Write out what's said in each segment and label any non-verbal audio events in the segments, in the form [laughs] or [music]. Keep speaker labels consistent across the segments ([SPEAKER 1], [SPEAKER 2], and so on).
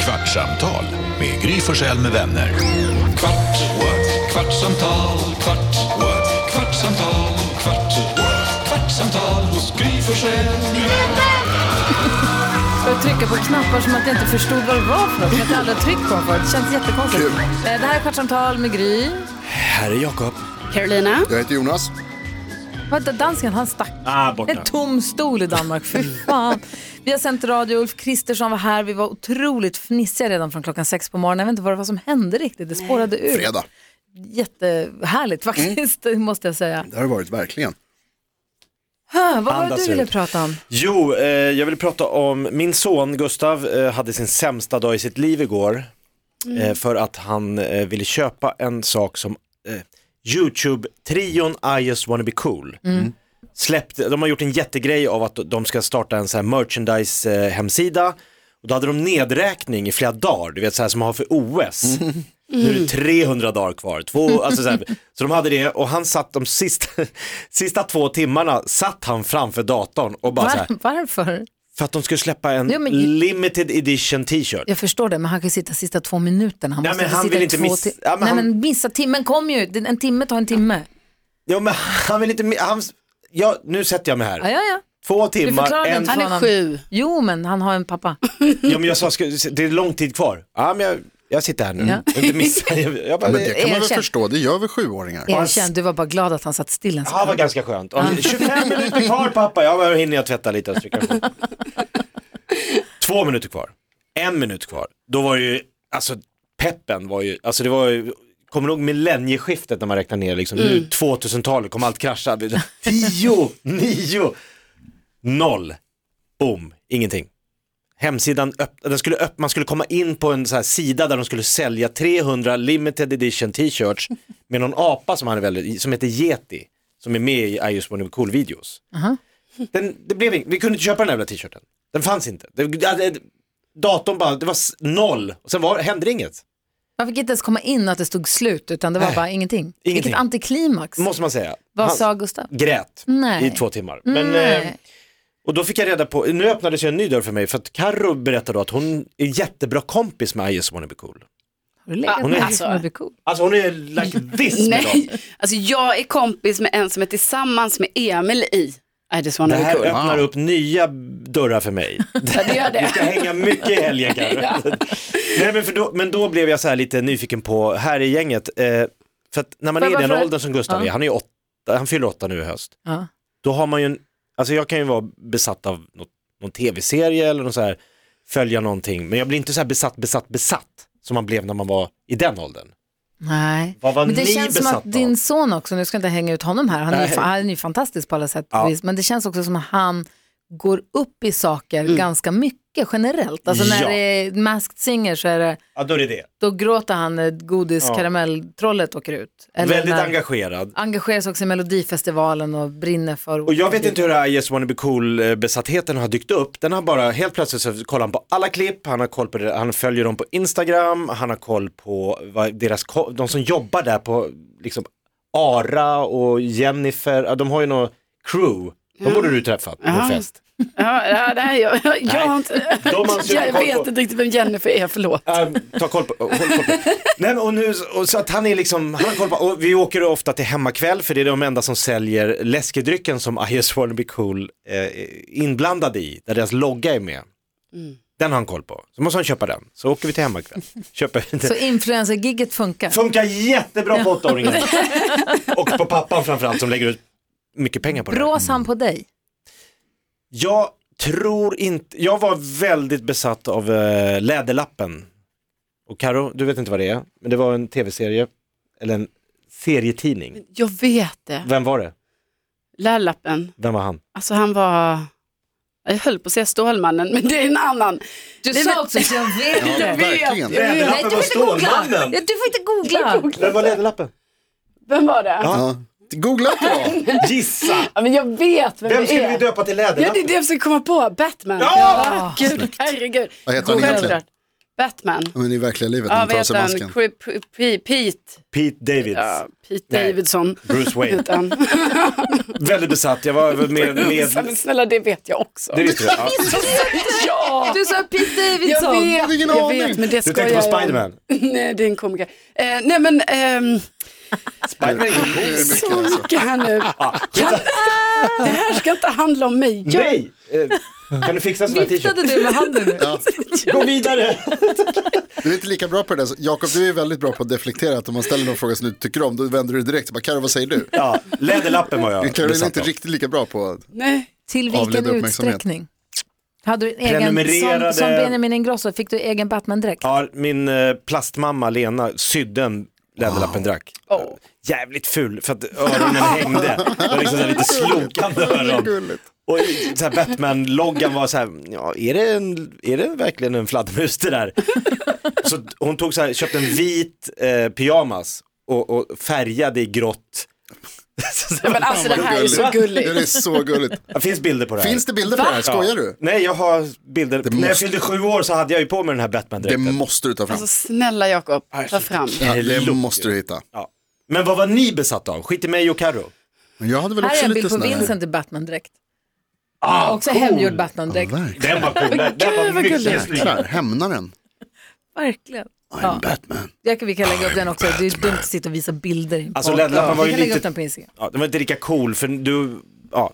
[SPEAKER 1] Kvartsamtal med Gry Forssell med vänner. Kvart, what? kvartsamtal, kvart, what? kvartsamtal, kvart, what? kvartsamtal hos Gry Forssell med vänner.
[SPEAKER 2] Jag trycka på knappar som att jag inte förstod vad det var för något. Som att jag aldrig har tryckt på dem förut. Det känns jättekonstigt. Eh, Det här är Kvartsamtal med Gry.
[SPEAKER 3] Här är Jakob.
[SPEAKER 4] Carolina.
[SPEAKER 5] Jag heter Jonas.
[SPEAKER 2] Vänta, dansken han stack.
[SPEAKER 3] Ah, borta.
[SPEAKER 2] En tom stol i Danmark, fy
[SPEAKER 3] [laughs]
[SPEAKER 2] fan. Vi har sänt radio, Ulf Kristersson var här, vi var otroligt fnissiga redan från klockan sex på morgonen. Jag vet inte vad det var som hände riktigt, det spårade ur.
[SPEAKER 5] Fredag.
[SPEAKER 2] Jättehärligt
[SPEAKER 3] Mm.
[SPEAKER 2] faktiskt, [laughs] måste jag säga.
[SPEAKER 5] Det har det varit verkligen.
[SPEAKER 2] Hö, vad var det
[SPEAKER 3] Andas
[SPEAKER 2] du ville
[SPEAKER 3] ut.
[SPEAKER 2] prata om?
[SPEAKER 3] Jo, eh, jag vill prata om min son Gustav eh, hade sin sämsta dag i sitt liv igår eh, för att han eh, ville köpa en sak som eh, Youtube-trion I just wanna be cool
[SPEAKER 2] Mm.
[SPEAKER 3] släppte, de har gjort en jättegrej av att de ska starta en så här merchandise eh, hemsida och då hade de nedräkning i flera dagar, du vet så här som man har för OS. Nu är det 300 dagar kvar, två, alltså så, här, så de hade det och han satt de sista, [laughs] sista två timmarna satt han framför datorn och bara så här,
[SPEAKER 2] Var, varför?
[SPEAKER 3] för att de skulle släppa en
[SPEAKER 2] Ja, men-
[SPEAKER 3] limited edition t-shirt.
[SPEAKER 2] Jag förstår det, men han kan ju sitta sista två minuterna. Han
[SPEAKER 3] Nej,
[SPEAKER 2] måste
[SPEAKER 3] men
[SPEAKER 2] inte
[SPEAKER 3] han
[SPEAKER 2] sitta
[SPEAKER 3] vill
[SPEAKER 2] i
[SPEAKER 3] inte
[SPEAKER 2] två
[SPEAKER 3] miss-
[SPEAKER 2] ti-
[SPEAKER 3] Ja, men
[SPEAKER 2] Nej,
[SPEAKER 3] han-
[SPEAKER 2] men missa, timmen kom ju. En timme tar en timme.
[SPEAKER 3] Ja, men han vill inte, mi- han, ja, nu sätter jag mig
[SPEAKER 2] Ja,
[SPEAKER 3] här.
[SPEAKER 2] ja, ja.
[SPEAKER 3] Två timmar,
[SPEAKER 2] förklarar
[SPEAKER 3] en,
[SPEAKER 2] den
[SPEAKER 4] Han
[SPEAKER 2] Fan.
[SPEAKER 4] är sju.
[SPEAKER 2] Jo, men han har en pappa.
[SPEAKER 3] ja, men jag sa, ska, det är lång tid kvar. Ja, men jag, jag sitter här nu,
[SPEAKER 2] Ja.
[SPEAKER 3] Jag
[SPEAKER 2] [laughs]
[SPEAKER 3] inte missa. Jag, jag bara,
[SPEAKER 5] Men det kan man väl
[SPEAKER 2] Erkänn.
[SPEAKER 5] förstå, det gör väl sjuåringar.
[SPEAKER 2] Erkänn, du var bara glad att han satt still en
[SPEAKER 3] Ja, det var
[SPEAKER 2] sekund.
[SPEAKER 3] ganska skönt. Om- 25 minuter kvar pappa, ja men då hinner jag tvätta lite och stryka på. Två minuter kvar, en minut kvar. Då var ju, alltså peppen var ju, alltså det var ju, kommer du ihåg millennieskiftet när man räknar ner liksom, nu 2000-talet kommer allt krascha. Tio, nio, noll, boom, ingenting. Hemsidan, öpp- den skulle öpp- man skulle komma in på en så här sida där de skulle sälja 300 limited
[SPEAKER 2] [laughs]
[SPEAKER 3] edition t-shirts med någon apa som, han är väldigt, som heter Yeti, som är med i I just wanna be cool videos. Den, det blev ing- vi kunde inte köpa den där jävla t-shirten, den fanns inte. Det, ja, det, datorn bara, det var s- noll, och sen var, hände det inget.
[SPEAKER 2] Man fick inte ens komma in att det stod slut, utan det var
[SPEAKER 3] Nej.
[SPEAKER 2] bara ingenting. Vilket
[SPEAKER 3] Ingenting.
[SPEAKER 2] antiklimax.
[SPEAKER 3] Måste man säga.
[SPEAKER 2] Vad
[SPEAKER 3] Han
[SPEAKER 2] sa Gustav?
[SPEAKER 3] grät
[SPEAKER 2] Nej.
[SPEAKER 3] i två timmar. Men, eh,
[SPEAKER 2] Nej.
[SPEAKER 3] Och då fick jag reda på, nu öppnades ju en ny dörr för mig för att Carro berättade då att hon är jättebra kompis med I just wanna be cool.
[SPEAKER 2] Har du legat
[SPEAKER 3] hon
[SPEAKER 2] med
[SPEAKER 3] är-
[SPEAKER 2] alltså. det blir cool?
[SPEAKER 3] Alltså hon är like this med dem.
[SPEAKER 4] Nej, alltså jag är kompis med en som är tillsammans med Emil i I just
[SPEAKER 3] Det
[SPEAKER 4] wanna be
[SPEAKER 3] här
[SPEAKER 4] cool.
[SPEAKER 3] öppnar
[SPEAKER 5] Wow.
[SPEAKER 3] upp nya dörrar för mig.
[SPEAKER 4] Ja, det gör
[SPEAKER 3] Vi ska
[SPEAKER 4] det.
[SPEAKER 3] hänga mycket i helgen Carro. Nej, men, för då, men då blev jag så här lite nyfiken på, här i gänget, eh, för att när man
[SPEAKER 2] Får
[SPEAKER 3] är i
[SPEAKER 2] jag
[SPEAKER 3] den
[SPEAKER 2] bara fråga-
[SPEAKER 3] åldern som Gustav
[SPEAKER 2] Ja.
[SPEAKER 3] är, han, är ju åtta, han fyller åtta nu i höst,
[SPEAKER 2] Ja.
[SPEAKER 3] då har man ju en, alltså jag kan ju vara besatt av något, någon tv-serie eller någon så här, följa någonting, men jag blir inte så här besatt, besatt, besatt som man blev när man var i den åldern.
[SPEAKER 2] Nej.
[SPEAKER 3] Vad var
[SPEAKER 2] Men det
[SPEAKER 3] ni
[SPEAKER 2] känns som
[SPEAKER 3] besatta
[SPEAKER 2] att din
[SPEAKER 3] av?
[SPEAKER 2] son också, nu ska jag inte hänga ut honom här, han är, ju,
[SPEAKER 3] Nej.
[SPEAKER 2] fa- han är ju fantastisk på alla sätt och
[SPEAKER 3] Ja.
[SPEAKER 2] vis, men det känns också som att han går upp i saker ganska mycket generellt. Alltså när
[SPEAKER 3] Mm. Ja.
[SPEAKER 2] det är Masked Singer så är det,
[SPEAKER 3] Ja, då är det det.
[SPEAKER 2] då gråter han när
[SPEAKER 3] Ja.
[SPEAKER 2] godiskaramelltrollet åker ut. Eller
[SPEAKER 3] Väldigt
[SPEAKER 2] när-
[SPEAKER 3] engagerad.
[SPEAKER 2] engageras också i Melodifestivalen och brinner för...
[SPEAKER 3] Och jag vet inte hur det här I just wanna be cool-besattheten har dykt upp. Den har bara, helt plötsligt så kollar han på alla klipp, han, har koll på det, han följer dem på Instagram, han har koll på vad deras, ko- de som jobbar där på liksom Ara och Jennifer, ja, de har ju något crew. De borde du träffat på en
[SPEAKER 4] [laughs]
[SPEAKER 3] fest.
[SPEAKER 4] Ja, ja, det här gör jag. Jag, har inte,
[SPEAKER 3] De anser
[SPEAKER 4] jag
[SPEAKER 3] att de
[SPEAKER 4] vet
[SPEAKER 3] har-
[SPEAKER 4] inte riktigt vem Jennifer är, förlåt.
[SPEAKER 3] Ja, Äh, ta koll på, håll koll på. Nej, men och nu, och så att han är liksom, han har koll på, och vi åker ju ofta till hemmakväll för det är de enda som säljer läskedrycken som I just wanna be cool eh, är inblandade i, där deras logga är med. Den har han koll på, så måste han köpa den. Så åker vi till hemmakväll, köper
[SPEAKER 2] [laughs]
[SPEAKER 3] den.
[SPEAKER 2] Så influencer-gigget funkar.
[SPEAKER 3] Funkar jättebra på åttaåringen. och på pappan framförallt som lägger ut mycket pengar på det.
[SPEAKER 2] Brås han på dig?
[SPEAKER 3] Jag tror inte, jag var väldigt besatt av eh, Läderlappen. Och Karo, du vet inte vad det är, men det var en tv-serie, eller en serietidning.
[SPEAKER 4] Jag vet det.
[SPEAKER 3] Vem var det?
[SPEAKER 4] Lärlappen,
[SPEAKER 3] Vem var han?
[SPEAKER 4] alltså han var, jag höll på att säga Stålmannen, men det är en annan.
[SPEAKER 2] Du
[SPEAKER 4] Nej,
[SPEAKER 2] sa
[SPEAKER 4] men-
[SPEAKER 2] också så jag vet
[SPEAKER 5] Ja,
[SPEAKER 2] det.
[SPEAKER 5] verkligen.
[SPEAKER 4] Jag vet.
[SPEAKER 2] Nej, du får inte googla. Ja, Du får inte googla.
[SPEAKER 3] Vem var Läderlappen?
[SPEAKER 4] Vem var det?
[SPEAKER 3] Ja.
[SPEAKER 5] Ja. Googla inte
[SPEAKER 2] [laughs]
[SPEAKER 5] då.
[SPEAKER 3] Gissa!
[SPEAKER 4] Ja, men jag vet vem,
[SPEAKER 3] Vem
[SPEAKER 4] det
[SPEAKER 3] skulle
[SPEAKER 4] är.
[SPEAKER 3] vi döpa till
[SPEAKER 4] Ja, det är
[SPEAKER 3] Läderlappen?
[SPEAKER 4] det jag försöker komma på, Batman.
[SPEAKER 3] Ja!
[SPEAKER 4] Gud, herregud.
[SPEAKER 5] Vad heter han
[SPEAKER 4] Googla
[SPEAKER 5] egentligen?
[SPEAKER 4] såklart. Batman.
[SPEAKER 5] Men i verkliga livet när
[SPEAKER 4] Ja,
[SPEAKER 5] han tar
[SPEAKER 4] vad
[SPEAKER 5] av sig
[SPEAKER 4] heter han?
[SPEAKER 5] masken.
[SPEAKER 4] Cri- P- P- Pete.
[SPEAKER 3] Pete Davids,
[SPEAKER 4] Ja, Pete
[SPEAKER 3] Nej.
[SPEAKER 4] Davidson.
[SPEAKER 3] Bruce Wayne.
[SPEAKER 4] [laughs] heter han.
[SPEAKER 3] Väldigt besatt, jag var med, med
[SPEAKER 4] Men Snälla, det vet jag också.
[SPEAKER 3] det visste du? Ja.
[SPEAKER 4] ja!
[SPEAKER 2] Du sa Pete
[SPEAKER 4] Jag
[SPEAKER 2] Davidson.
[SPEAKER 4] vet,
[SPEAKER 5] ingen
[SPEAKER 4] jag
[SPEAKER 5] aning.
[SPEAKER 4] vet, men det
[SPEAKER 3] Du
[SPEAKER 4] skojar
[SPEAKER 3] tänkte på
[SPEAKER 4] jag om.
[SPEAKER 3] Spiderman?
[SPEAKER 4] [laughs] Nej, det är en komiker. Eh, nej, men ehm,
[SPEAKER 3] Spiderman är
[SPEAKER 5] Det
[SPEAKER 3] cool.
[SPEAKER 5] är mycket alltså.
[SPEAKER 4] Sonika här nu. Kan, det här ska inte handla om mig. Jag-
[SPEAKER 3] Nej! Eh, Kan du fixa sådana här
[SPEAKER 2] Viftade
[SPEAKER 3] t-shirts?
[SPEAKER 2] du med handen nu?
[SPEAKER 5] Ja.
[SPEAKER 3] Gå vidare!
[SPEAKER 5] Du är inte lika bra på det där. Jakob, du är väldigt bra på att deflektera. Att om man ställer någon fråga som du inte tycker om, då vänder du direkt. Bara, Karo, vad säger du?
[SPEAKER 3] Ja, läderlappen var jag
[SPEAKER 5] Karin är
[SPEAKER 3] besatt
[SPEAKER 5] inte
[SPEAKER 3] av.
[SPEAKER 5] riktigt lika bra på
[SPEAKER 4] Nej.
[SPEAKER 2] Till vilken
[SPEAKER 5] Avled uppmärksamhet.
[SPEAKER 2] utsträckning? Hade du en egen, som,
[SPEAKER 3] Prenumererade-
[SPEAKER 2] som Benjamin Ingrosso, fick du egen Batman-dräkt?
[SPEAKER 3] Ja, min eh, plastmamma Lena sydde en
[SPEAKER 5] Ah.
[SPEAKER 3] läderlappendrack.
[SPEAKER 4] Åh.
[SPEAKER 3] Jävligt ful för att
[SPEAKER 5] [laughs]
[SPEAKER 3] öronen hängde. Det var liksom så här lite slokande öron.
[SPEAKER 5] gulligt.
[SPEAKER 3] Och så här Batman-loggan var så här, ja är det, en, är det verkligen en fladdermus det
[SPEAKER 5] [laughs]
[SPEAKER 3] där? Så hon tog så här, köpte en vit eh, pyjamas och, och färgade i grått. Så det
[SPEAKER 4] Men
[SPEAKER 3] var-
[SPEAKER 4] alltså det här är så gulligt.
[SPEAKER 5] Gulligt. Ja, det är så [laughs] gulligt.
[SPEAKER 3] Det finns bilder på det här.
[SPEAKER 5] Finns det bilder på det här? Skojar du?
[SPEAKER 3] Nej, jag har bilder. När jag
[SPEAKER 5] måste-
[SPEAKER 3] fyllde sju år så hade jag ju på mig den här
[SPEAKER 5] Det
[SPEAKER 3] Batman-dräkten.
[SPEAKER 5] måste du ta fram.
[SPEAKER 4] Alltså snälla Jakob, ta fram.
[SPEAKER 5] Ja, det
[SPEAKER 3] Herregud.
[SPEAKER 5] måste du hitta.
[SPEAKER 3] Ja. Men vad var ni besatta av? Skit i mig och Carro.
[SPEAKER 5] Men jag hade väl
[SPEAKER 2] Här är
[SPEAKER 5] också
[SPEAKER 2] en
[SPEAKER 5] lite
[SPEAKER 2] bild på
[SPEAKER 5] sån här.
[SPEAKER 2] Vincent i Batman-dräkt.
[SPEAKER 3] Ah,
[SPEAKER 2] Också hemgjord Batman-dräkt.
[SPEAKER 5] Verkligen.
[SPEAKER 3] Den
[SPEAKER 2] [laughs]
[SPEAKER 3] var cool. Den, den var mycket snygg.
[SPEAKER 5] Jäklar, hämnaren.
[SPEAKER 2] Verkligen.
[SPEAKER 5] I'm
[SPEAKER 2] Ja.
[SPEAKER 5] Batman.
[SPEAKER 2] Jag kan, vi kan lägga upp den också. Det är dumt att sitta och visa bilder.
[SPEAKER 3] Alltså,
[SPEAKER 2] på-
[SPEAKER 3] Lennart var
[SPEAKER 2] Vi
[SPEAKER 3] ju
[SPEAKER 2] kan lägga
[SPEAKER 3] lite-
[SPEAKER 2] upp den på Instagram.
[SPEAKER 3] Ja, den var inte lika cool för du, ja.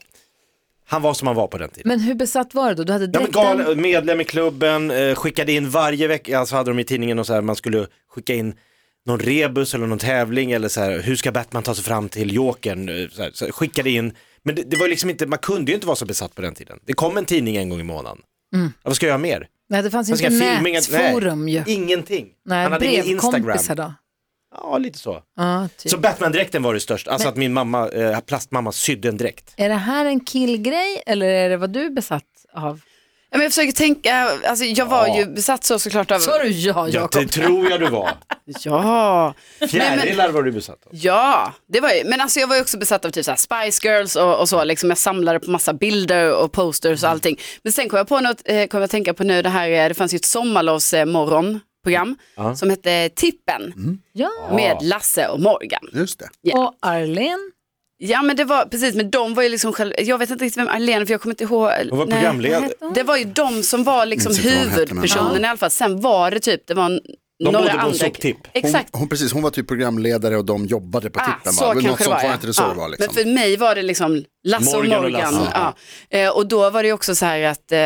[SPEAKER 3] Han var som han var på den tiden.
[SPEAKER 2] Men hur besatt var du då? Du hade
[SPEAKER 3] Ja, men
[SPEAKER 2] dräkten.
[SPEAKER 3] gal, medlem i klubben, eh, skickade in varje vecka, alltså hade de i tidningen och så här, man skulle skicka in någon rebus eller någon tävling eller så här, hur ska Batman ta sig fram till Jokern? eh, Så här, så här, skickade in, men det, det var ju liksom inte, man kunde ju inte vara så besatt på den tiden. Det kom en tidning en gång i månaden. Ja, vad ska jag göra mer?
[SPEAKER 2] Nej, Mm. det fanns ju
[SPEAKER 3] Vad ska
[SPEAKER 2] inte
[SPEAKER 3] jag filma? Inget- nej.
[SPEAKER 2] nätforum ju.
[SPEAKER 3] Ingenting.
[SPEAKER 2] Nej,
[SPEAKER 3] han hade ingen Instagram.
[SPEAKER 2] brevkompisar då.
[SPEAKER 3] Ja, lite så.
[SPEAKER 2] Ja, typ.
[SPEAKER 3] Så Batman-dräkten var det största, alltså att min mamma, eh, plastmamma sydde en dräkt.
[SPEAKER 2] Är det här en killgrej eller är det vad du är besatt av?
[SPEAKER 4] Ja, men jag försöker tänka, alltså jag var
[SPEAKER 3] Ja.
[SPEAKER 4] ju besatt så såklart av...
[SPEAKER 2] Sa du ja,
[SPEAKER 3] Ja, typ.
[SPEAKER 2] Jakob?
[SPEAKER 3] det tror jag du
[SPEAKER 2] [laughs]
[SPEAKER 3] var.
[SPEAKER 4] Ja,
[SPEAKER 3] Fjärilar var du besatt av.
[SPEAKER 4] ja, det var ju, men alltså jag var ju också besatt av typ så här Spice Girls och, och så, liksom jag samlade på massa bilder och posters
[SPEAKER 3] Mm.
[SPEAKER 4] och allting. Men sen kom jag på något, eh, kom jag att tänka på nu det här, eh, det fanns ju ett sommarlovsmorgonprogram
[SPEAKER 3] Ja. Mm.
[SPEAKER 4] som hette Tippen
[SPEAKER 2] Ja.
[SPEAKER 4] med Lasse och Morgan.
[SPEAKER 5] Just det.
[SPEAKER 4] Ja.
[SPEAKER 2] Och Arlen?
[SPEAKER 4] Ja men det var precis, men de var ju liksom själv, jag vet inte riktigt vem Arlene, för jag kommer inte ihåg.
[SPEAKER 3] Hon var
[SPEAKER 4] Nej.
[SPEAKER 3] programledare.
[SPEAKER 4] Det var ju de som var liksom
[SPEAKER 5] Minns inte vad hon hette, men-
[SPEAKER 4] huvudpersonen i alla fall. Sen var det typ, det var n-
[SPEAKER 3] De
[SPEAKER 4] några
[SPEAKER 3] bodde på en
[SPEAKER 4] andra.
[SPEAKER 3] soptipp.
[SPEAKER 5] Hon,
[SPEAKER 4] Exakt.
[SPEAKER 5] hon, precis, hon var typ programledare och de jobbade på
[SPEAKER 4] Ah,
[SPEAKER 5] tippen.
[SPEAKER 4] så
[SPEAKER 5] va? Men
[SPEAKER 4] kanske
[SPEAKER 5] något
[SPEAKER 4] det
[SPEAKER 5] sånt
[SPEAKER 4] var, ja.
[SPEAKER 5] var inte det så
[SPEAKER 4] Ja.
[SPEAKER 5] det var liksom.
[SPEAKER 4] Men för mig var det liksom Lasse och
[SPEAKER 3] Morgan och
[SPEAKER 4] Morgan.
[SPEAKER 3] Lasse.
[SPEAKER 4] Ja. Eh, Och då var det ju också så här att, eh,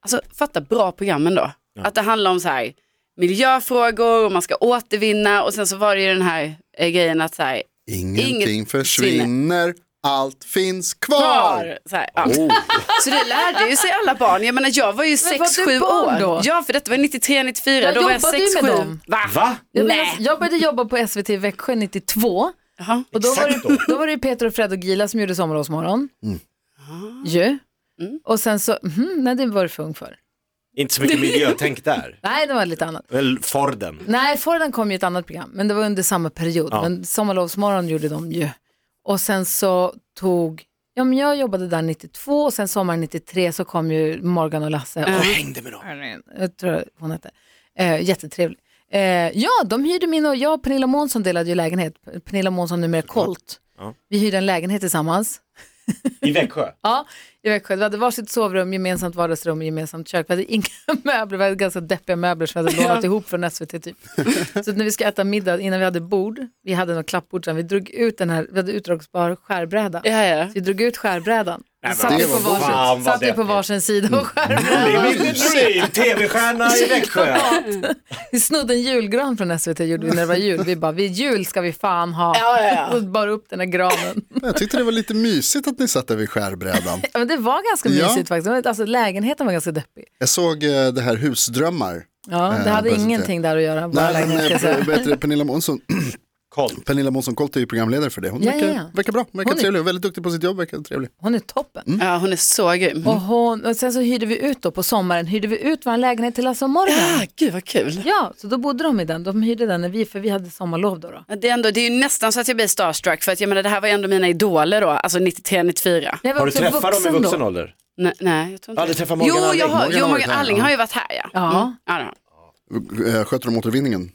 [SPEAKER 4] alltså fatta bra programmen då. Att det handlar om så här miljöfrågor och man ska återvinna och sen så var det ju den här eh, grejen att så här,
[SPEAKER 5] Ingenting
[SPEAKER 4] Inget
[SPEAKER 5] försvinner, allt finns kvar.
[SPEAKER 4] kvar. Så, här,
[SPEAKER 5] Oh.
[SPEAKER 4] ja. så det lärde ju sig alla barn. Jag menar jag var ju
[SPEAKER 2] var
[SPEAKER 4] 6-7
[SPEAKER 2] du barn
[SPEAKER 4] år.
[SPEAKER 2] då?
[SPEAKER 4] Ja för detta var 93, 94.
[SPEAKER 2] Ja,
[SPEAKER 4] då var jag
[SPEAKER 2] jobbade du
[SPEAKER 4] 6-7.
[SPEAKER 2] med dem?
[SPEAKER 4] Va?
[SPEAKER 3] Va?
[SPEAKER 2] Jag, menar,
[SPEAKER 4] Nej.
[SPEAKER 2] jag började jobba på SVT i Växjö 92.
[SPEAKER 4] Jaha.
[SPEAKER 2] Och då, var
[SPEAKER 3] Exakt Mm.
[SPEAKER 2] det, då var det ju Peter och Fred och Gila som gjorde Sommarlovsmorgon. Ju. Och sen så, mhm, nej det var du för ung för.
[SPEAKER 3] Inte
[SPEAKER 2] [laughs]
[SPEAKER 3] så mycket miljötänk där.
[SPEAKER 2] Nej, det var lite annat.
[SPEAKER 3] Väl Forden.
[SPEAKER 2] Nej, Forden kom ju i ett annat program, men det var under samma period.
[SPEAKER 3] Ja.
[SPEAKER 2] Men Sommarlovsmorgon gjorde de ju. Och sen så tog, ja men jag jobbade där 92 och sen sommaren 93 så kom ju Morgan och Lasse och
[SPEAKER 3] Jag hängde med dem.
[SPEAKER 2] jag tror hon hette. Eh, jättetrevlig. Eh, ja, de hyrde min och jag och Pernilla Månsson delade ju lägenhet. Pernilla Månsson numera Colt.
[SPEAKER 3] Ja.
[SPEAKER 2] Vi hyrde en lägenhet tillsammans. [laughs]
[SPEAKER 3] I Växjö.
[SPEAKER 2] Ja, i Växjö. Vi hade varsitt sovrum, gemensamt vardagsrum och gemensamt kök. Vi hade inga [laughs] möbler, vi hade ganska deppiga möbler som vi hade lånat ihop från SVT [laughs] typ. Så att när vi ska äta middag, innan vi hade bord, vi hade något klappbord sen, vi drog ut den här, vi hade utdragsbar skärbräda.
[SPEAKER 4] Ja, ja.
[SPEAKER 2] Så vi drog ut skärbrädan.
[SPEAKER 3] men
[SPEAKER 2] Vi satt
[SPEAKER 5] det
[SPEAKER 2] vi på
[SPEAKER 5] var
[SPEAKER 3] fan
[SPEAKER 2] varsin,
[SPEAKER 3] vad
[SPEAKER 2] satt vi på
[SPEAKER 3] deppigt.
[SPEAKER 2] varsin sida och skärbrädan.
[SPEAKER 3] Det är min idol, tv-stjärna
[SPEAKER 2] [laughs]
[SPEAKER 3] i Växjö.
[SPEAKER 2] Vi snodde en julgran från SVT gjorde vi när det var jul. Vi bara, vid jul ska vi fan ha.
[SPEAKER 4] Ja, ja, ja.
[SPEAKER 2] Och bara upp den här granen.
[SPEAKER 5] Jag tyckte det var lite mysigt att ni satt där vid skärbrädan.
[SPEAKER 2] Ja, men det var ganska
[SPEAKER 5] Ja.
[SPEAKER 2] mysigt faktiskt. Alltså, lägenheten var ganska deppig.
[SPEAKER 5] Jag såg eh, det här Husdrömmar.
[SPEAKER 2] Ja, det
[SPEAKER 5] Eh,
[SPEAKER 2] hade
[SPEAKER 5] precis.
[SPEAKER 2] ingenting där att göra. Bara
[SPEAKER 5] Nej, men,
[SPEAKER 2] lägenhet, ska jag säga.
[SPEAKER 5] eh, vad heter det, Pernilla Månsson [clears throat]
[SPEAKER 3] Koll.
[SPEAKER 5] Pernilla Månsson Colt är ju programledare för det. Hon
[SPEAKER 2] Ja,
[SPEAKER 5] verkar,
[SPEAKER 2] ja, ja.
[SPEAKER 5] verkar bra, verkar
[SPEAKER 2] Hon är-
[SPEAKER 5] trevlig, väldigt duktig på sitt jobb, verkar trevlig.
[SPEAKER 2] Hon är toppen.
[SPEAKER 3] Mm,
[SPEAKER 4] ja hon är så grym.
[SPEAKER 2] Och, hon, och sen så hyrde vi ut då på sommaren, hyrde vi ut vår lägenhet till Lasse och Morgan.
[SPEAKER 4] Ah, gud vad kul.
[SPEAKER 2] Ja, så då bodde de i den. De hyrde den när vi, för vi hade sommarlov då. då.
[SPEAKER 4] Ja, Det är, ändå, det är ju nästan så att jag blir starstruck för att jag menar det här var ju ändå mina idoler då, alltså 93, 94.
[SPEAKER 2] Jag var
[SPEAKER 3] Har du
[SPEAKER 2] också
[SPEAKER 3] träffat dem
[SPEAKER 2] då.
[SPEAKER 3] i vuxen ålder?
[SPEAKER 4] Nej, nej jag tror
[SPEAKER 3] Ja, du
[SPEAKER 4] inte
[SPEAKER 3] träffar Morgan
[SPEAKER 4] Jo,
[SPEAKER 3] Alling.
[SPEAKER 4] jag har,
[SPEAKER 5] Morgan
[SPEAKER 4] jo,
[SPEAKER 5] har
[SPEAKER 4] Morgan
[SPEAKER 5] varit här,
[SPEAKER 4] Alling
[SPEAKER 5] ja.
[SPEAKER 4] har ju varit här ja.
[SPEAKER 2] Ja.
[SPEAKER 4] ja, det har han.
[SPEAKER 5] Eh, Sköter de återvinningen?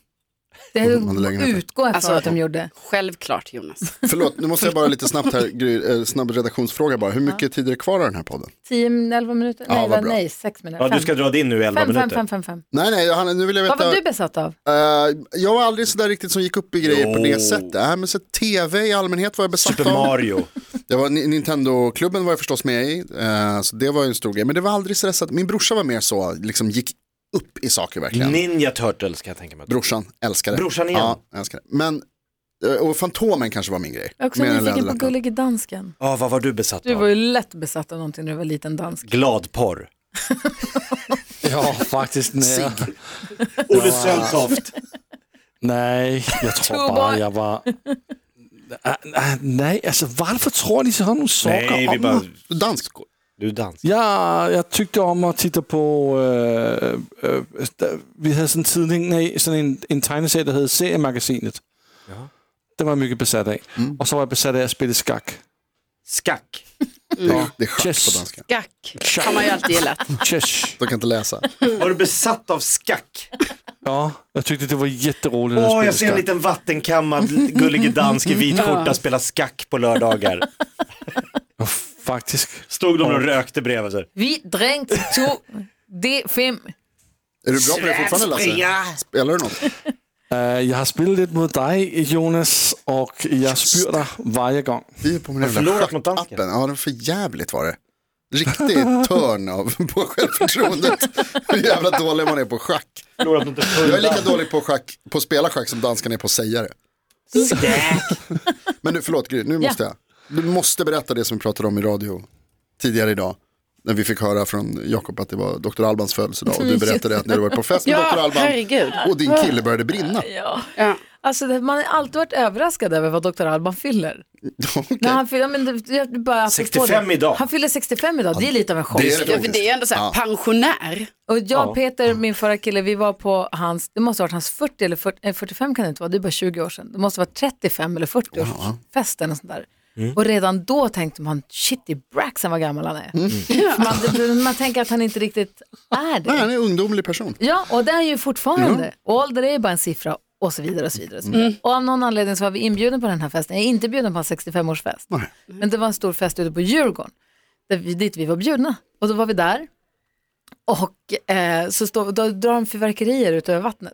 [SPEAKER 2] Det
[SPEAKER 5] de hade lägenheter.
[SPEAKER 2] utgår jag
[SPEAKER 4] Alltså-
[SPEAKER 2] från att de gjorde.
[SPEAKER 4] Självklart Jonas.
[SPEAKER 5] Förlåt, nu måste jag bara lite snabbt här, Gry, eh, snabb redaktionsfråga bara. Hur mycket tid är det kvar av den här podden?
[SPEAKER 2] 10-11 minuter?
[SPEAKER 5] Ja,
[SPEAKER 2] Nej,
[SPEAKER 5] vad
[SPEAKER 2] vad-
[SPEAKER 5] bra.
[SPEAKER 2] nej 6 minuter.
[SPEAKER 3] Ja, du ska dra din nu i 11
[SPEAKER 2] 5,
[SPEAKER 3] minuter.
[SPEAKER 2] 5, 5, 5, 5.
[SPEAKER 5] Nej, nej, Johanna, nu vill jag
[SPEAKER 2] Vad
[SPEAKER 5] veta.
[SPEAKER 2] var du besatt av?
[SPEAKER 5] Eh, jag var aldrig sådär riktigt som gick upp i grejer på
[SPEAKER 3] Jo.
[SPEAKER 5] det sättet. Äh, men så tv i allmänhet var jag besatt
[SPEAKER 3] Super
[SPEAKER 5] av.
[SPEAKER 3] Mario.
[SPEAKER 5] Det var, Ni- Nintendo-klubben var jag förstås med i, eh, så det var ju en stor grej. Men det var aldrig sådär så att min brorsa var mer så, liksom gick upp i saker verkligen.
[SPEAKER 3] Ninja Turtles kan jag tänka mig.
[SPEAKER 5] Brorsan, älskade.
[SPEAKER 3] Brorsan igen.
[SPEAKER 5] Ja, älskade. Men, eh, och Fantomen kanske var min grej.
[SPEAKER 2] Jag är också
[SPEAKER 5] Mer än
[SPEAKER 2] nyfiken på
[SPEAKER 5] Läderlappan.
[SPEAKER 2] Gullige Dansken.
[SPEAKER 3] Ja, vad var du besatt
[SPEAKER 2] Du
[SPEAKER 3] av?
[SPEAKER 2] var ju lätt besatt av någonting när du var liten dansk.
[SPEAKER 3] Gladporr.
[SPEAKER 6] Ja, faktiskt. Nej,
[SPEAKER 3] Olle Söltoft.
[SPEAKER 6] nej jag tror bara jag var... Ah, ah, Nej, alltså varför tror ni sådana saker
[SPEAKER 3] Nej, vi
[SPEAKER 6] om mig?
[SPEAKER 3] bara...
[SPEAKER 5] Dansk.
[SPEAKER 3] Du dansar.
[SPEAKER 6] Ja, jag tyckte om att titta på... øh, øh, der- vi hade sådan en tidning, nej, sådan en, en tegneserie, der hed Seriemagasinet. Den var jag mycket besatt av.
[SPEAKER 3] Mm.
[SPEAKER 6] Och så var jag besatt av att spela schack.
[SPEAKER 3] Skack. Mm.
[SPEAKER 5] Det, det är schack
[SPEAKER 6] Chess.
[SPEAKER 5] på danska.
[SPEAKER 4] Gack har man ju alltid gillat.
[SPEAKER 3] [laughs]
[SPEAKER 6] Chess.
[SPEAKER 5] De kan inte läsa.
[SPEAKER 3] Var du besatt av skack?
[SPEAKER 6] Ja, jag tyckte det var jätteroligt att
[SPEAKER 3] Åh,
[SPEAKER 6] spela
[SPEAKER 3] jag ser en
[SPEAKER 6] schack.
[SPEAKER 3] liten vattenkammad gullige dansk i
[SPEAKER 5] Mm.
[SPEAKER 3] vit skjorta spela skack på lördagar.
[SPEAKER 6] Ja, Faktiskt.
[SPEAKER 3] Stod de och rökte bredvid sig.
[SPEAKER 2] Vi dränkt to de fem.
[SPEAKER 5] Är du bra på det fortfarande Lasse? Spelar du något?
[SPEAKER 6] Eh, jag har spelat lite mot dig, Jonas, och jag spyr dig varje gång.
[SPEAKER 5] Vi är på min
[SPEAKER 3] förlorat
[SPEAKER 5] jävla
[SPEAKER 3] mot dansken.
[SPEAKER 5] schackappen. Ja, det var för jävligt var det. Riktig törn av på självförtroendet. Hur jävla dålig man är på schack.
[SPEAKER 3] Förlorat mot en
[SPEAKER 5] Jag är
[SPEAKER 3] full
[SPEAKER 5] lika dålig på, schack, på att spela schack som danskarna är på att säga det. Men nu, förlåt Gry, nu måste jag. Du måste berätta det som vi pratade om i radio tidigare idag. När vi fick höra från Jakob att det var Dr. Albans födelsedag och du berättade att när du var på fest med
[SPEAKER 4] Ja,
[SPEAKER 5] Dr. Alban
[SPEAKER 4] herregud.
[SPEAKER 5] och din kille började brinna.
[SPEAKER 4] Ja.
[SPEAKER 2] Alltså det- man har alltid varit överraskad över vad Dr. Alban fyller.
[SPEAKER 5] [laughs] Okej.
[SPEAKER 2] När han fyller, men det, jag bara apropå
[SPEAKER 3] 65
[SPEAKER 2] det.
[SPEAKER 3] idag.
[SPEAKER 2] Han fyller 65 idag, det är lite av en chock.
[SPEAKER 5] Det är det
[SPEAKER 4] Ja, för
[SPEAKER 5] faktiskt.
[SPEAKER 4] det är ändå så här,
[SPEAKER 5] Ja.
[SPEAKER 4] pensionär.
[SPEAKER 2] Och jag och Peter, min förra kille, vi var på hans, det måste ha varit hans 40 eller 40, eh, 45 kan det inte vara, det är bara 20 år sedan. Det måste ha varit 35 eller 40 års festen och sånt där.
[SPEAKER 5] Mm.
[SPEAKER 2] Och redan då tänkte man, shit i braxen vad gammal han är.
[SPEAKER 5] Mm.
[SPEAKER 2] För Man, man tänker att han inte riktigt är det.
[SPEAKER 5] Nej, han är en ungdomlig person.
[SPEAKER 2] Ja, och det är ju fortfarande. Och ålder är bara en siffra och så vidare och så vidare. Och, så vidare.
[SPEAKER 5] Mm.
[SPEAKER 2] och av någon anledning så var vi inbjuden på den här festen. Jag är inte bjuden på hans 65-årsfest. Men det var en stor fest ute på Djurgården, där vi, dit vi var bjudna. Och då var vi där. Och eh, så står, då drar de fyrverkerier ut över vattnet.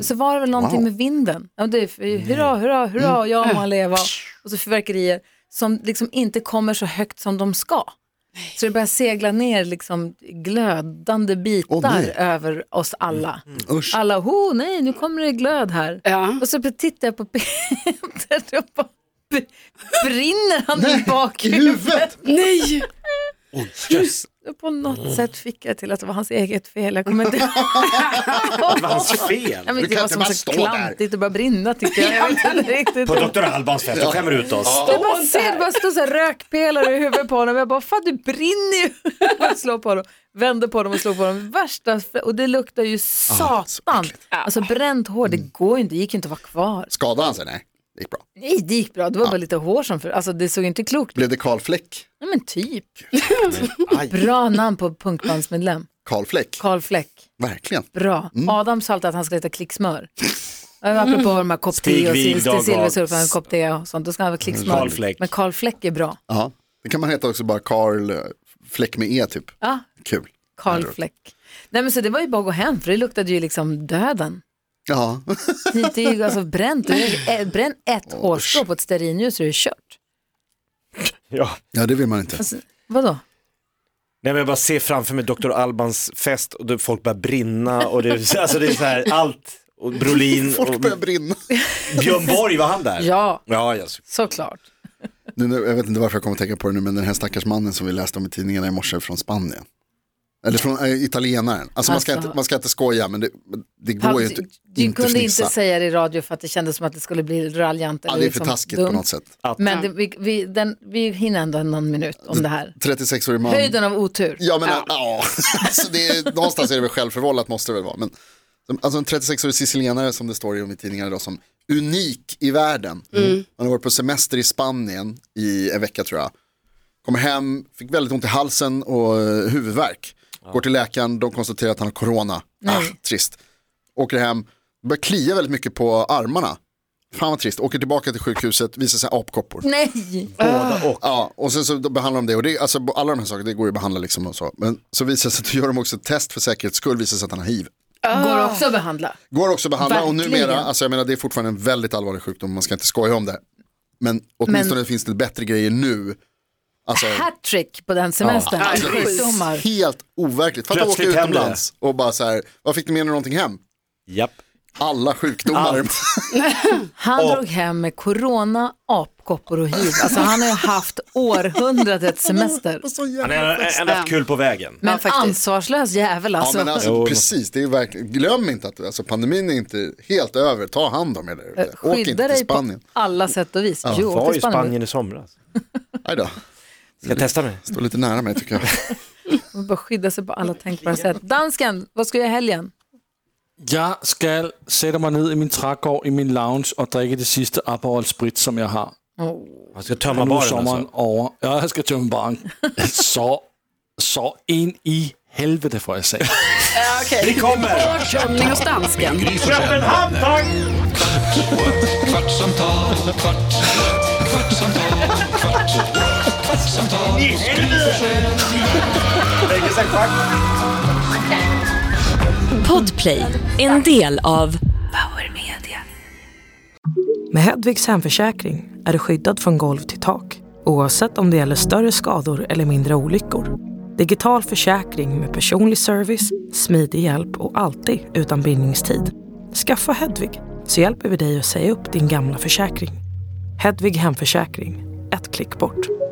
[SPEAKER 2] Så var det väl någonting
[SPEAKER 5] Mm. Wow. Mm.
[SPEAKER 2] med vinden. Ja, men det är, för- hurra, hurra, hurra, ja må han leva. Och så fyrverkerier som liksom inte kommer så högt som de ska. Så det börjar segla ner liksom glödande
[SPEAKER 5] Åh,
[SPEAKER 2] bitar
[SPEAKER 5] nej. Mm.
[SPEAKER 2] över oss alla.
[SPEAKER 5] Usch.
[SPEAKER 2] Alla, ho nej nu kommer det glöd här.
[SPEAKER 4] Ja.
[SPEAKER 2] Och så tittar jag på Peter [laughs] och bara, "B- brinner han i bakhuvudet?
[SPEAKER 4] Nej,
[SPEAKER 2] Och På något sätt fick jag till att det var hans eget fel. Jag
[SPEAKER 5] [laughs]
[SPEAKER 2] kommer inte ihåg.
[SPEAKER 3] Det var hans Alltså, fel.
[SPEAKER 2] Nej, men
[SPEAKER 5] kan
[SPEAKER 2] Det var
[SPEAKER 5] inte
[SPEAKER 2] som
[SPEAKER 5] bara
[SPEAKER 2] så
[SPEAKER 5] stå
[SPEAKER 2] klantigt och bara brinna tycker
[SPEAKER 5] [laughs]
[SPEAKER 2] jag. Jag vet inte riktigt.
[SPEAKER 3] På Dr. Albans fest, de skämmer ut oss.
[SPEAKER 2] Jag bara ser det bara stå så här rökpelare i huvudet på honom. Jag bara, fan du brinner ju. [laughs] Jag slår på honom, vänder på honom och slår på honom. Värsta, och det luktar
[SPEAKER 5] Ah,
[SPEAKER 2] ju satan. Alltså bränt hår, det
[SPEAKER 5] Mm.
[SPEAKER 2] går ju inte, det gick ju inte att vara kvar.
[SPEAKER 5] Skadade han sig? Nej, det gick bra.
[SPEAKER 2] Nej, det gick bra, det var bara lite hår som för... Alltså det såg inte klokt ut.
[SPEAKER 5] Blev det Karl Fläck?
[SPEAKER 2] Nej men typ.
[SPEAKER 5] Aj,
[SPEAKER 2] Mm, Bra namn på punkbandsmedlem.
[SPEAKER 5] Karl Fläck.
[SPEAKER 2] Karl Fläck,
[SPEAKER 5] Verkligen.
[SPEAKER 2] bra.
[SPEAKER 5] Mm.
[SPEAKER 2] Adam sa alltid att han skulle heta klicksmör. Mm. Apropå de här kopp te och
[SPEAKER 3] Stigvig, Dag
[SPEAKER 2] Stig
[SPEAKER 3] Hag.
[SPEAKER 2] Silversurfaren, kopp te och sånt, då ska han vara klicksmör.
[SPEAKER 3] Karl Fläck.
[SPEAKER 2] Men Karl Fläck är bra.
[SPEAKER 5] Ja. Det kan man heta också bara Karl eh, Fläck med E typ.
[SPEAKER 2] Ja,
[SPEAKER 5] Kul.
[SPEAKER 2] Karl Fläck. Nej men så det var ju bara att gå hem för det luktade ju liksom döden.
[SPEAKER 5] Ja,
[SPEAKER 2] Det är ju alltså bränt, det är- bränn ett hårstrå på ett stearinljus så är det kört.
[SPEAKER 3] Ja.
[SPEAKER 5] ja det vill man inte.
[SPEAKER 2] Alltså, vadå?
[SPEAKER 3] Nej men jag bara ser framför mig Dr. Albans fest och då folk börjar brinna och det, alltså det är så här allt. Och Brolin och
[SPEAKER 5] Folk börjar brinna.
[SPEAKER 3] Björn Borg, var han där?
[SPEAKER 2] Ja,
[SPEAKER 3] Ja, jag ser-
[SPEAKER 2] såklart.
[SPEAKER 5] Nu, nu, jag vet inte varför jag kommer att tänka på det nu, men den här stackars mannen som vi läste om i tidningarna i morse från Spanien. Eller från äh, italienaren. Alltså, man, ska
[SPEAKER 2] Alltså.
[SPEAKER 5] inte, man ska inte skoja, men det, men det går ju inte.
[SPEAKER 2] du
[SPEAKER 5] inte
[SPEAKER 2] kunde
[SPEAKER 5] fnissa.
[SPEAKER 2] inte säga det i radio för att det kändes som att det skulle bli raljant.
[SPEAKER 5] ja,
[SPEAKER 2] eller
[SPEAKER 5] det är för
[SPEAKER 2] liksom
[SPEAKER 5] taskigt
[SPEAKER 2] dumt.
[SPEAKER 5] på något sätt.
[SPEAKER 2] Men det, vi, vi, den, vi hinner ändå någon minut om det här.
[SPEAKER 5] 36-årig man.
[SPEAKER 2] Höjden av otur.
[SPEAKER 5] Ja, men ja. ja. alltså, det är, någonstans är det väl självförvållat måste det väl vara. Men, som- alltså en 36-årig sicilianare som det står om i tidningarna idag som unik i världen. Han har varit på semester i Spanien i en vecka tror jag. Kommer hem, fick väldigt ont i halsen och eh, huvudvärk. Går till läkaren, de konstaterar att han har corona. Ah, trist. åker hem, börjar klia väldigt mycket på armarna. Fan vad trist, åker tillbaka till sjukhuset, visar sig ha apkoppor.
[SPEAKER 2] Nej!
[SPEAKER 3] Båda och.
[SPEAKER 5] Ja, och sen så behandlar de det. Och det alltså, alla de här sakerna, det går ju att behandla liksom och så. Men så visar det sig, att gör de också ett test för säkerhets skull, visar det sig att han har hiv.
[SPEAKER 2] Går också att behandla.
[SPEAKER 5] Går också att behandla och
[SPEAKER 2] Verkligen.
[SPEAKER 5] numera, alltså jag menar det är fortfarande en väldigt allvarlig sjukdom, man ska inte skoja om det. Men åtminstone finns det bättre grejer nu. Alltså,
[SPEAKER 2] Hattrick på den semestern.
[SPEAKER 4] Ja.
[SPEAKER 2] Ja. Sjukdomar.
[SPEAKER 5] helt overkligt. Fatta att åka
[SPEAKER 3] Plötsligt händer
[SPEAKER 5] utomlands och bara så här, vad fick ni med er någonting hem?
[SPEAKER 3] Japp.
[SPEAKER 5] Alla sjukdomar. [laughs]
[SPEAKER 3] Allt.
[SPEAKER 2] Han drog hem med corona, apkoppor och hiv. Alltså han har ju haft århundradets semester.
[SPEAKER 5] Så
[SPEAKER 3] Han
[SPEAKER 5] jävla...
[SPEAKER 3] är ändå haft kul på vägen.
[SPEAKER 2] Men
[SPEAKER 4] faktiskt.
[SPEAKER 2] ansvarslös jävel
[SPEAKER 5] Ja
[SPEAKER 2] alltså.
[SPEAKER 5] men
[SPEAKER 3] Jo.
[SPEAKER 5] alltså precis, det är verkligen, glöm inte att alltså, pandemin är inte helt över, ta hand om er där ute. alltså, Åk
[SPEAKER 2] Skydda
[SPEAKER 5] inte till
[SPEAKER 2] dig på
[SPEAKER 5] Spanien.
[SPEAKER 2] alla sätt och vis. jo, åk
[SPEAKER 3] Var
[SPEAKER 2] till
[SPEAKER 3] i
[SPEAKER 2] Spanien.
[SPEAKER 3] Spanien i somras.
[SPEAKER 5] Aj då,
[SPEAKER 3] Ska jag testa mig?
[SPEAKER 5] stå lite nära mig tycker jag.
[SPEAKER 2] Man bara skydda sig på alla tänkbara sätt. Dansken, vad ska jag göra i helgen?
[SPEAKER 6] Jeg skal sætte mig ned i min trægård i min lounge og drikke det sidste Aperol Sprit, som jeg har.
[SPEAKER 3] Jag ska
[SPEAKER 6] Og
[SPEAKER 3] tömma
[SPEAKER 6] nu er
[SPEAKER 3] baren
[SPEAKER 6] sommeren
[SPEAKER 3] alltså.
[SPEAKER 6] altså. over. Ja, jeg skal tømme baren. så, så ind i helvede, får jeg sagt.
[SPEAKER 4] Ja, okej.
[SPEAKER 3] Vi kommer!
[SPEAKER 4] Körning hos dansken.
[SPEAKER 1] Gry Forssell med vänner. Kvartsamtal, kvart, kvartsamtal, kvart, kvartsamtal hos Gry Forssell med vänner.
[SPEAKER 7] Podplay, en del av Power Media.
[SPEAKER 8] Med Hedvigs hemförsäkring är du skyddad från golv till tak oavsett om det gäller större skador eller mindre olyckor. Digital försäkring med personlig service, smidig hjälp och alltid utan bindningstid. Skaffa Hedvig så hjälper vi dig att säga upp din gamla försäkring. Hedvig hemförsäkring, ett klick bort.